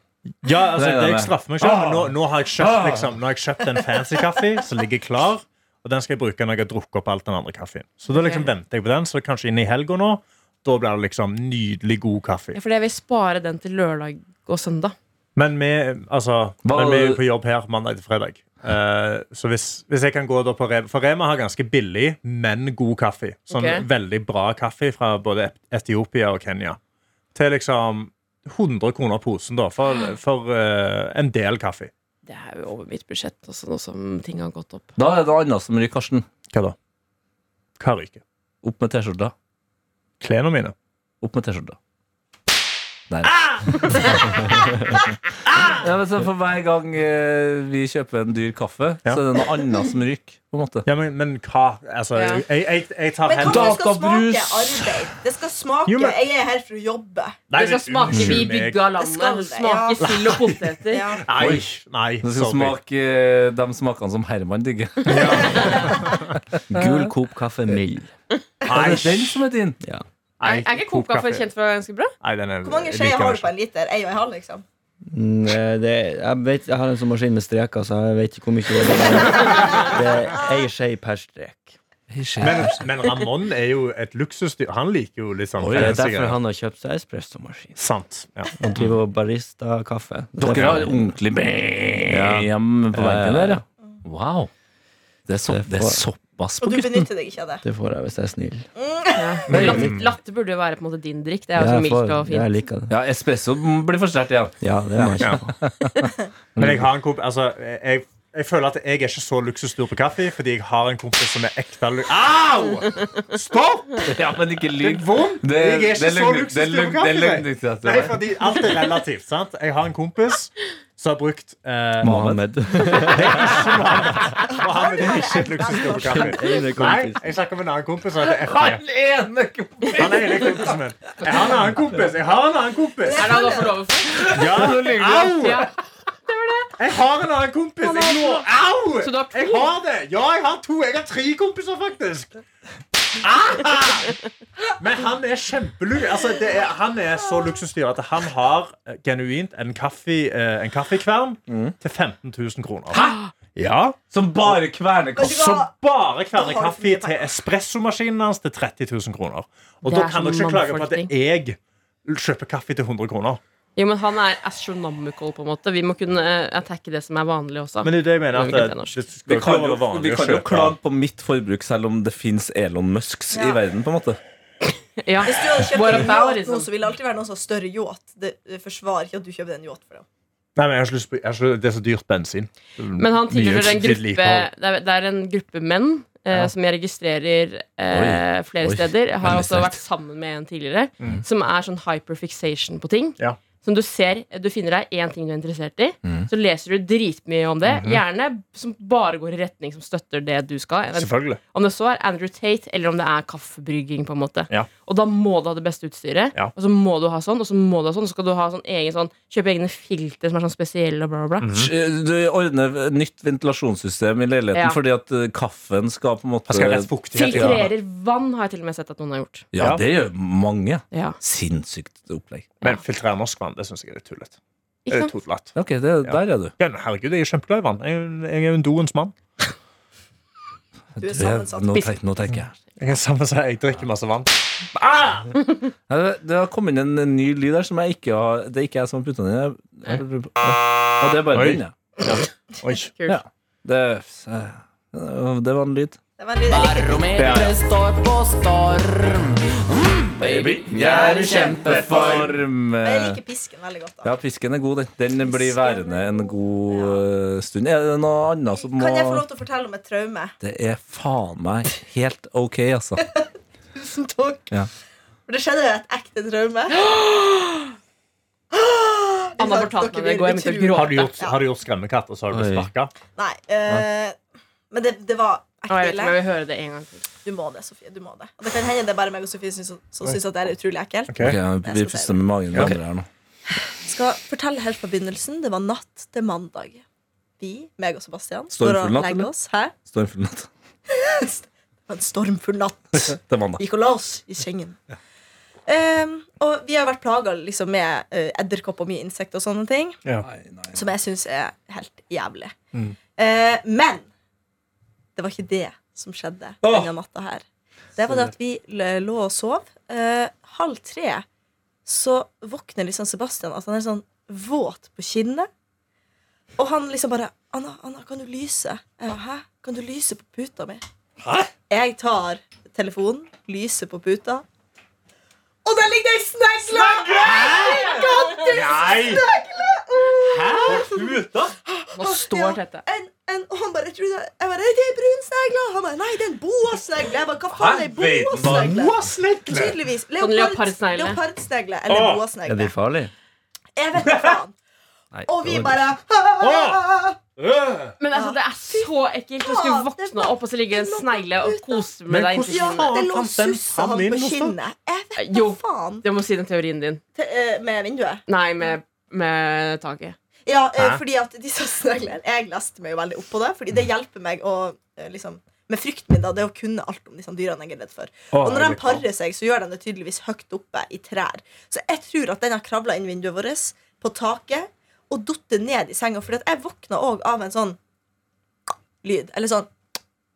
Ja, altså, Det er det det. jeg straffer meg selv, men nå, nå, har jeg Ah. kjøpt, liksom, nå har jeg kjøpt en fancy kaffe som ligger klar. Og den skal jeg bruke når jeg har drukket opp alt den andre kaffen. Så da liksom Ok. venter jeg på den, så kanskje inn i helga nå. Da blir det liksom nydelig god kaffe. Ja, fordi jeg vil spare den til lørdag og søndag. Men vi, altså, Hva- men vi er jo på jobb her mandag til fredag. Eh, så hvis, hvis jeg kan gå da på Rema For Rema har ganske billig, men god kaffe. Sånn Ok. veldig bra kaffe fra både Ep- Etiopia og Kenya. Til liksom 100 kroner posen, da, for, for eh, en del kaffe. Det er jo over mitt budsjett, også, nå som ting har gått opp. Da er det noe annet som ryker, Karsten. Hva da? Hva ryker? Opp med T-skjorta. Klærne mine. Opp med T-skjorta. Der. Ah! ja, men så for hver gang eh, vi kjøper en dyr kaffe, Ja. så er det noe annet som ryker. På en måte. Ja, men, men hva? Altså, Ja. jeg, jeg, jeg tar Men hva om hendene det skal Databrus. smake arbeid? Det skal smake Jo, men- Jeg er her for å jobbe. Nei, det skal men smake vi unnskyld meg. bygga Det skal landet. det, Smake ja. sild og poteter. Ja. Nei, nei. Det skal sorry. smake eh, de smakene som Herman digger. Gul Coop kaffe mild. Er Nei, det den som er din? nei, Er, er ikke kokekaffe kjent for å være ganske bra? Nei, den er Hvor mange jeg skjeer liker den har du ikke. på en liter? Ei og ei halv, liksom? Mm, eh, det, jeg, vet, jeg har en sånn maskin med streker, så jeg vet ikke hvor mye det er. Det er ei skje per strek. Men, men Ramón er jo et luksusdyr. Han liker jo litt sånn Det er Mm. fancy derfor greier. han har kjøpt seg espressomaskin. Sant. Ja. Han driver og barista-kaffe. Dere har ordentlig BM på veggen der, ja. Wow. Det er, så, Det får- det er såpass Og på du gutten. benytter deg ikke av det? Det får jeg hvis jeg er snill. Latte, latte burde jo være på en måte din drikk. Det er jo jeg, så mildt og får, jeg fint. liker det. Ja, espresso blir for sterkt igjen. Ja, det må jeg Ja. ikke. Men jeg har en komp... Altså, jeg, jeg føler at jeg er ikke så luksusdyr på kaffe, fordi jeg har en kompis som er ekte lu- Au! Stopp! Ja, men ikke lyv. Det er vondt. Det, Jeg er ikke det så løgn- luksus det til å løgn- få det kaffe, løgn- nei. det løgn- Nei, fordi alt er relativt, sant? Jeg har en kompis som har brukt eh, Mohammed. Og han er ikke et luksusdyr på kaffe. Ene Nei, kompis. jeg snakker om en annen kompis. som heter FB. Han er hele kompisen min. Jeg har en annen kompis. Jeg har en annen kompis. Er det han har fått lov for? Ja, au! Ja. Jeg har en annen kompis! Jeg lå, au! Så du har to? Jeg har det! Ja, jeg har to. Jeg har tre kompiser, faktisk. Ah! Men han er kjempeluk... Altså, det er, han er så luksusdyr at han har eh, genuint en, kaffe, eh, en kaffekvern til 15 000 kroner. Mm. Hæ? Ja. Som bare kverner Vet du hva? Så bare Da kverner har du kaffe mye til espressomaskinen hans til 30 000 kroner. Og Det da er kan så dere ikke klage på at mannfolkting. jeg kjøper kaffe til 100 kroner. Jo, men han er astronomical, på en måte. Vi må kunne eh, attacke det som er vanlig også. Men det er det jeg Det er mener jo ikke at det norsk. det Vi skal kan, være jo, vi vanlig å kan jo kjøpe- klage på mitt forbruk, selv om det fins Elon Musks i Ja. verden. på en måte Ja. Hvis du hadde kjøpt What en about, yacht liksom? nå, så ville det alltid være noen som har større yacht. Det det forsvarer ikke at du kjøper en yacht for dem. Nei, men jeg har ikke lyst på jeg har ikke, Det er så dyrt bensin. Men han tilhører Mye en gruppe vedlikehold. Det er, det er en gruppe menn eh, Ja. som jeg registrerer eh, flere oi, steder. Jeg har veldig også sterkt. vært sammen med en tidligere som er sånn hyperfixation på ting. Mm. Ja. Mm. som du ser Du finner deg én ting du er interessert i, så leser du dritmye om det. Mm-hmm. Gjerne som bare går i retning som støtter det du skal. Selvfølgelig. Om det så er Andrew Tate, eller om det er kaffebrygging. på en måte Ja. Og da må du ha det beste utstyret, Ja. og så må du ha sånn, og så må du ha sånn. Så skal du ha sånn egen sånn kjøpe egne filter som er sånn spesielle, og bla, bla, bla. Mm. Du ordner nytt ventilasjonssystem i leiligheten Ja. fordi at eh, kaffen skal på en måte Jeg skal ha rett fuktighet. i det. Filtrerer vann har jeg til og med sett at noen har gjort. Ja, Ja. det gjør mange. Ja. Sinnssykt opplegg. Men filtrere norsk vann, det syns jeg er litt tullete. Det Ikke er sant? totelatt. Ok, det, Der er du. Ja, men herregud, jeg er kjempeglad i vann. Jeg, jeg er jo en doens mann. Du er Det- sammensatt. Nå, tenk, nå tenker jeg. Jeg kan sammen si jeg drikker masse vann. Ja, det, det har kommet inn en ny lyd der som jeg ikke har Det er ikke jeg som har putta den inn. Jeg- jeg- Ja, det er bare Oi. den, ja. Oi. Kult. Ja. Det, det var en lyd. Det var en lyd. Jeg likte den. Baby, jeg er i kjempeform. Men Jeg liker pisken veldig godt. da Ja, pisken er god, den. Den blir værende en god eh, stund. Er det noe annet som må Kan jeg få lov til å fortelle om et traume? Det er faen meg helt ok, altså. Tusen takk. Ja. For det skjedde et ekte traume. Anna fortalte meg det i går. Jeg begynte å Har du gråte. gjort, har du gjort skremmekatt, og så har du blitt Oi. sparka? Nei, eh, men det, det var Å, jeg ekte vet ikke om ille. jeg vil høre det en gang til. Du må det, Sofie. du må Det Og det kan hende det er bare meg og Sofie som som syns at det er utrolig ekkelt. Ok, vi Jeg skal puster med magen. med Ok. andre her nå Skal fortelle helt fra begynnelsen. Det var natt til mandag. Vi, meg og Sebastian, Stormfull står og natt, legger eller? oss. Hæ? Stormfull natt. Det var en stormfull natt. Det er mandag. Vi gikk og la oss i sengen. Ehm, og vi har vært plaga liksom, med eh, edderkopp og mye insekter og sånne ting. Som jeg syns er helt jævlig. Eh, men det var ikke det som skjedde denne natta her. Det var det at vi l- lå og sov. Eh, halv tre så våkner liksom Sebastian at han er sånn våt på kinnet. Og han liksom bare 'Anna, Anna, kan du lyse?' Jeg bare, 'Hæ? Kan du lyse på puta mi?' Jeg tar telefonen, lyser på puta, og der ligger det ei snegle! Nei! Hæ? Puta? Nå står dette. en, en, og han bare trodde Jeg bare, det er brunsnegle Han bare, nei, det er en boasnegle Jeg bare, hva faen er en boasnegle? Boasnegle? Tydeligvis Sånn leopardsnegle. leopard- leopardsnegle Eller Åh, Er boasnegle de farlige? Jeg vet ikke faen Nei, Og vi det var- bare Men altså, det er så ekkelt å skulle våkne opp, og så ligger det en snegle og koser med Men deg. hvordan- inntil Ja, kinnet. det lå Fant den sussa fram han inn på hos deg? kinnet Jeg vet Jo. hva faen Det må si den teorien din. Til, eh, Med vinduet Nei, med, med taket. Ja, eh, Hæ? fordi at disse sneglene Jeg leste meg jo veldig opp på det Fordi det hjelper meg å eh, liksom med frykten min da, det er å kunne alt om disse dyrene jeg er redd for Og når de parer seg, så gjør de det tydeligvis høyt oppe i trær. Så jeg tror at den har kravla inn vinduet vårt, på taket, og datt ned i senga. For jeg våkna òg av en sånn lyd. Eller sånn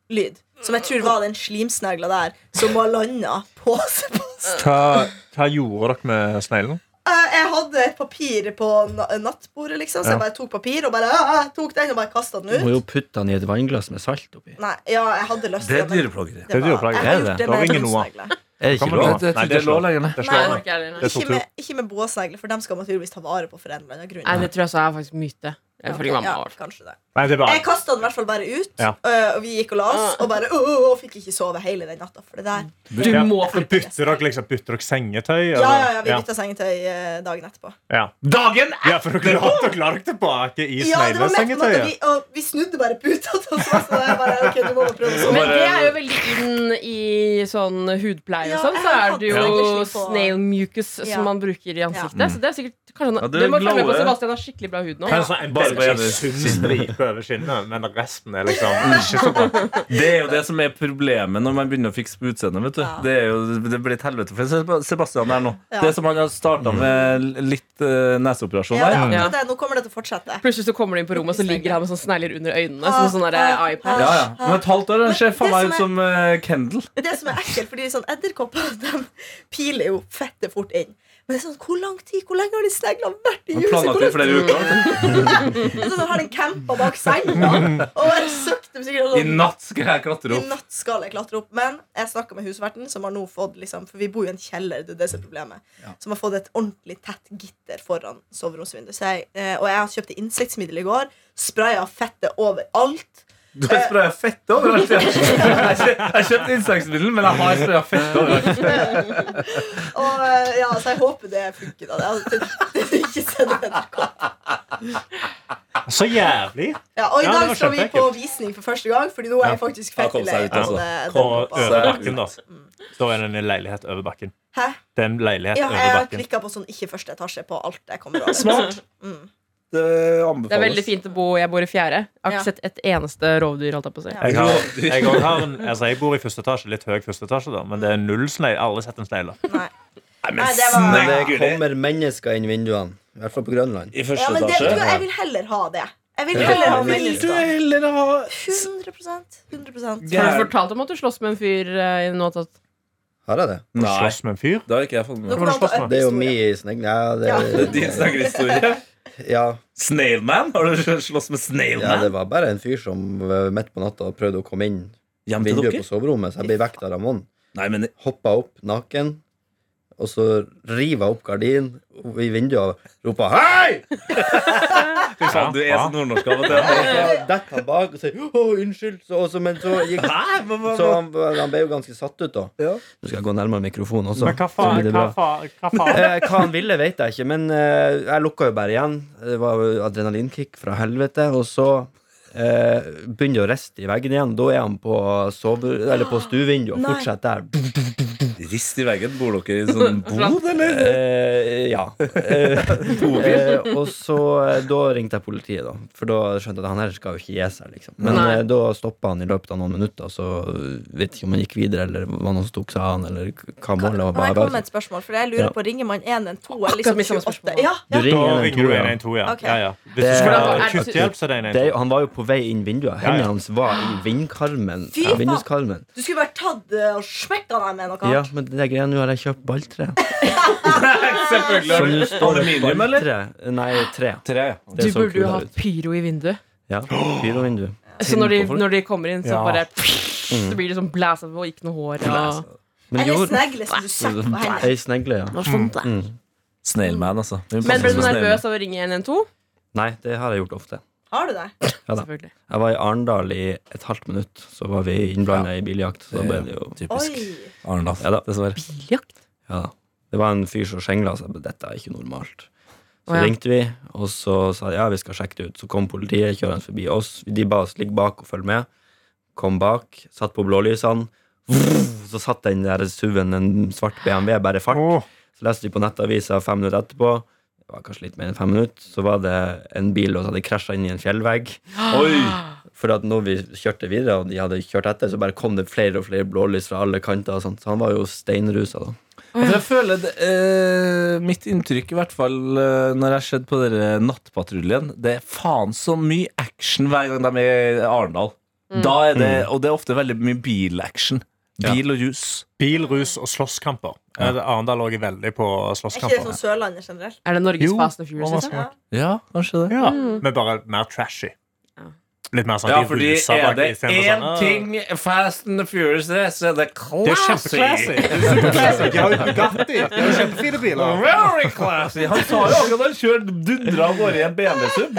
lyd. Som jeg tror var den slimsnegla der som var landa på Sebastian. hva, hva gjorde dere med sneglen? Eh, Jeg hadde et papir på na nattbordet, liksom, så jeg bare tok papir og bare ah, tok den og bare kasta Du den må ut. jo putte den i et vannglass med salt oppi. Nei, ja, jeg hadde lyst Det er men dyreplageri. Det er var- dyreplageri, Jeg har er gjort det? det Da med ringer Noah. brunsnegle. Er det Kan ikke man lov? lov? Det tror Nei, jeg ikke det er lov slår. lenger. nei. Det Nei, slår det meg. orker jeg heller. Det er så Ikke med, ikke med boasnegler, for dem skal man tydeligvis ta vare på for en eller annen grunn. Nei, det tror jeg så er faktisk myte. Ifølge Ja, mamma. i ja, hvert fall. kanskje det. Nei, det er Jeg bare kasta den i hvert fall bare ut, Ja. øh, og vi gikk og la oss. Og bare, «Åh, åh, åh», fikk ikke sove hele den natta. For det der. Du Ja, må men Bytter dere liksom, bytter dere sengetøy? Ja, ja, ja, eller? vi bytta sengetøy øh, dagen etterpå. ja. Dagen etter! Ja, for dere la dere la dere tilbake i Ja, det var midt på natta, sneglesengetøyet. vi, og vi snudde bare puta til oss. Så jeg bare, ok, du må bare prøve å sove. Men det er jo veldig inn i sånn hudpleie og Ja, sånn. Så jeg er hadde det jo egentlig på- snail mucus Ja. som man bruker i ansiktet. Så det er sikkert kanskje, Ja, han- det Det må jeg følge med på glower. Sebastian har skikkelig bra hud nå. Kan sånn en Bare på veldig ene sunn siden. stripe over skinnet, men resten er liksom ikke så bra. Det er jo det som er problemet når man begynner å fikse på utseendet. vet du Ja. Det, er jo, det blir et helvete for Seb- Sebastian her nå. Ja. Det som han har starta med litt eh, neseoperasjon Ja, det er der. akkurat det. Nå kommer det til å fortsette. Plutselig så kommer du inn på rommet, og så ligger han med sånn snegler under øynene. Som sånn Ah, der iPad. Ja, ja. Om et halvt år han ser faen meg det ut som som eh, Kendall. Det som er ekkelt, fordi sånn edderkopper de piler jo fette fort inn. Men det er sånn, hvor lang tid, hvor lenge har de sneglene vært i Han huset? Hvor planlagt i lang flere uker. Altså, nå har den campa bak senga og bare søkt dem sikkert. I natt skal jeg klatre I opp. natt skal jeg klatre opp. Men jeg snakka med husverten, som har nå fått liksom, For vi bor jo i en kjeller, det er det som er problemet. Som har fått et ordentlig tett gitter foran soveromsvinduet. Så jeg, eh, og jeg kjøpte insektmiddel i går. Spraya fettet overalt. Du har spraya fett overalt. ja. Jeg kjø- jeg har kjøpt insektmiddel, men jeg har spraya fett overalt. Og eh, ja, så jeg håper det funker. da Det er ikke send NRK. Så jævlig! Ja, og i Ja, det dag var skal vi på kjempeekkelt. visning for første gang, Fordi nå er jeg faktisk Ja, kom fett seg lei ut, av altså. eh, På den pappa. over bakken, da. Da er det en leilighet over bakken. Hæ? Det er en leilighet Mm. Ja, over jeg har bakken. klikka på sånn ikke første etasje på alt jeg kommer over. Smart. Mm. Det Det er anbefales. veldig fint å bo Jeg bor i fjerde. Jeg har Ja. ikke sett et eneste rovdyr. Holdt jeg på å si. Jeg, har, jeg, også har en, altså jeg bor i første etasje, litt høy første etasje, da, men det er null snegler. Aldri sett en snegler. Nei. Nei, Nei, det var- Men det snakker du? kommer mennesker inn vinduene. I hvert fall på Grønland. I Ja, første men det, etasje? du, jeg vil heller ha det. Jeg vil heller ha mennesker. heller ha 100 100 Har du fortalt om at du slåss med en fyr eh, i noe sånt? Har jeg det? Nei, Slåss med en fyr? det har ikke jeg fått med meg. Hvorfor slåss man? Det er jo min snegl. Ja, det, Det er din sneglehistorie. ja, Snailman? Har du slåss med ja, Snailman? det var bare en fyr som eh, midt på natta prøvde å komme inn Hjem til vinduet dere? på soverommet, så jeg ble vekt av Ramón. Nei, men Hoppa opp naken, og så river jeg opp gardinen og i vinduet og roper 'hei!' fy faen, du er så nordnorsk av og til. Så detter han bak og sier 'å, unnskyld', så, og så, men så gikk Hæ? Hva- hva- så han, han ble jo ganske satt ut, da. Nå skal jeg gå nærmere mikrofonen også. Men hva så blir faen? det Hva bra. faen? Hva faen? Eh, hva han ville, vet jeg ikke, men eh, jeg lukka jo bare igjen. Det var jo adrenalinkick fra helvete. Og så eh, begynner det å riste i veggen igjen. Da er han på, sove, eller på stuevinduet og Nei. fortsetter der. Rist i veggen. Bor dere i sånn bod, eller? Eh, ja. Eh, eh, og så eh, da ringte jeg politiet, da. For da skjønte jeg at han her skal jo ikke gi seg, liksom. Men Nei. eh, da stoppa han i løpet av noen minutter, så eh, vet ikke om han gikk videre, eller hva noen som tok seg av han, eller hva målet var. Kan jeg komme Bare, med et spørsmål? For jeg Ja. lurer på, Ringer man 112 eller liksom mitt samme 28? spørsmål. Ja, du ja. Da ringer ringer du 112, ja. 112, ja. Ok. ja, ja. Hvis du Det- skulle Er ha det- kutthjelp, så er det Det er 112. jo, han var jo på vei inn vinduet. Ja, Hendene ja. hans var i vindkarmen. Fy faen. Vinduskarmen. Du skulle bare tatt det og smekka deg med noe. Ja, men det greia nå har jeg kjøpt balltre. Selvfølgelig. Så har nå du- står det Aluminium, eller? balltre. Nei, tre. Tre, ja. Det Du så burde jo kula ha ut. pyro i vinduet. Ja, pyrovindu. Så når de, Tenk på folk. når de kommer inn, så Ja. bare Mm. Så blir det sånn blæsa på, og ikke noe hår. Og... Men Eller gjorde snegle som du setter på hendene. Ei snegle, ja. Snailman, altså. Vi passer Men ble du på Snailman. nervøs av å ringe 112? Nei, det har jeg gjort ofte. Har du det? Ja da. Selvfølgelig. Jeg var i Arendal i et halvt minutt, så var vi innblanda i biljakt. Så da ble det jo Oi. Typisk Arendal, Ja da. dessverre. Jakt? Ja da. Det var en fyr som skjengla seg, men dette er ikke normalt. Så Å, ja. ringte vi, og så sa de ja, vi skal sjekke det ut. Så kom politiet kjørende forbi oss. De ba oss ligge bak og følge med. Kom bak, satt på blålysene. Vroom! Så satt den der SUV-en, en svart BMW, bare i fart. Åh. Så leste vi på nettavisa fem minutter etterpå, det var kanskje litt mer enn fem minutter, så var det en bil som hadde krasja inn i en fjellvegg. For at når vi kjørte videre, og de hadde kjørt etter, så bare kom det flere og flere blålys fra alle kanter. Og sånt. Så han var jo steinrusa, da. For Altså, jeg føler det, eh, Mitt inntrykk, i hvert fall eh, når jeg har sett på dere Nattpatruljen, det er faen så mye action hver gang de er i Arendal. Mm. Da er det, og det er ofte veldig mye bilaction. Bil og jus. Bil, rus og slåsskamper. Eh, Arendal lå veldig på Er ikke det slåsskamper. sånn Sørlandet generelt? Er det Norges Jo, Fast and Furious? hva Liksom? var Ja, kanskje det. Ja, Mm. men bare mer trashy. Ja. Litt mer sånn Ja, de fordi ruser er bak det i scenen og én sånn, «Åh». ting Fast and the Furious er, så er det Det er classy. kjempeclassy. Det er superclassy. De har jo Bugatti. De har jo kjempefine biler. Very classy. Han sa jo akkurat han kjørt dundra av gårde i en BMW-sub.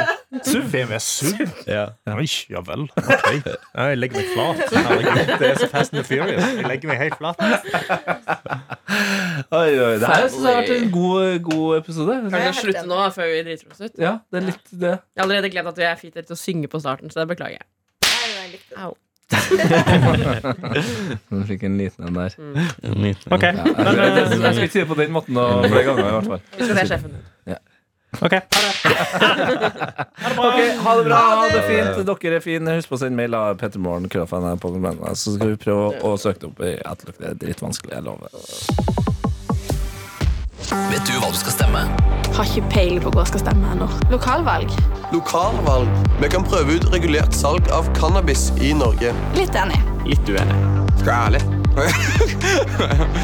SUV. BMW SUV. Ja. Oi, ja vel. Ok. Ja, Jeg legger meg flat. Herregud, det er så Fast and the Furious. Jeg legger meg helt flat. Oi, oi, det her synes jeg har vært en god, god episode. Kan Jeg vi er helt slutte nå da, før vi driter oss ut? Ja, det er litt det. Jeg har allerede glemt at vi er fint til å synge på starten, så det beklager jeg. Nei, nei, jeg likte det. Du fikk en liten en der. Ok, eh, Jeg, jeg, jeg, jeg skal ikke si det på den måten og flere ganger. i hvert fall Vi skal se sjefen. ok. Ok, Ha det bra, ha det fint. Dere er fine. Husk på å sende mail av Pettermorgen, så skal vi prøve å søke det opp. i Outlook. Det er dritvanskelig, jeg lover. Vet du hva du skal stemme? Har ikke peiling på hva jeg skal stemme ennå. Lokalvalg? Lokalvalg. Vi kan prøve ut regulert salg av cannabis i Norge. Litt enig. Skal jeg være ærlig?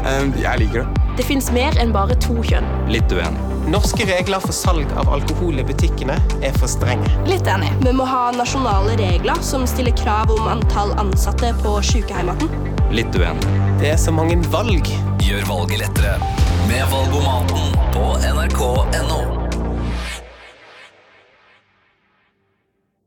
Em, jeg liker det. Det fins mer enn bare to kjønn. Litt uenig. Norske regler for salg av alkohol i butikkene er for strenge. Litt enig. Vi må ha nasjonale regler som stiller krav om antall ansatte på sykehjemmene. Litt uenig. Det er så mange valg. Gjør valget lettere med Valgomaten på NRK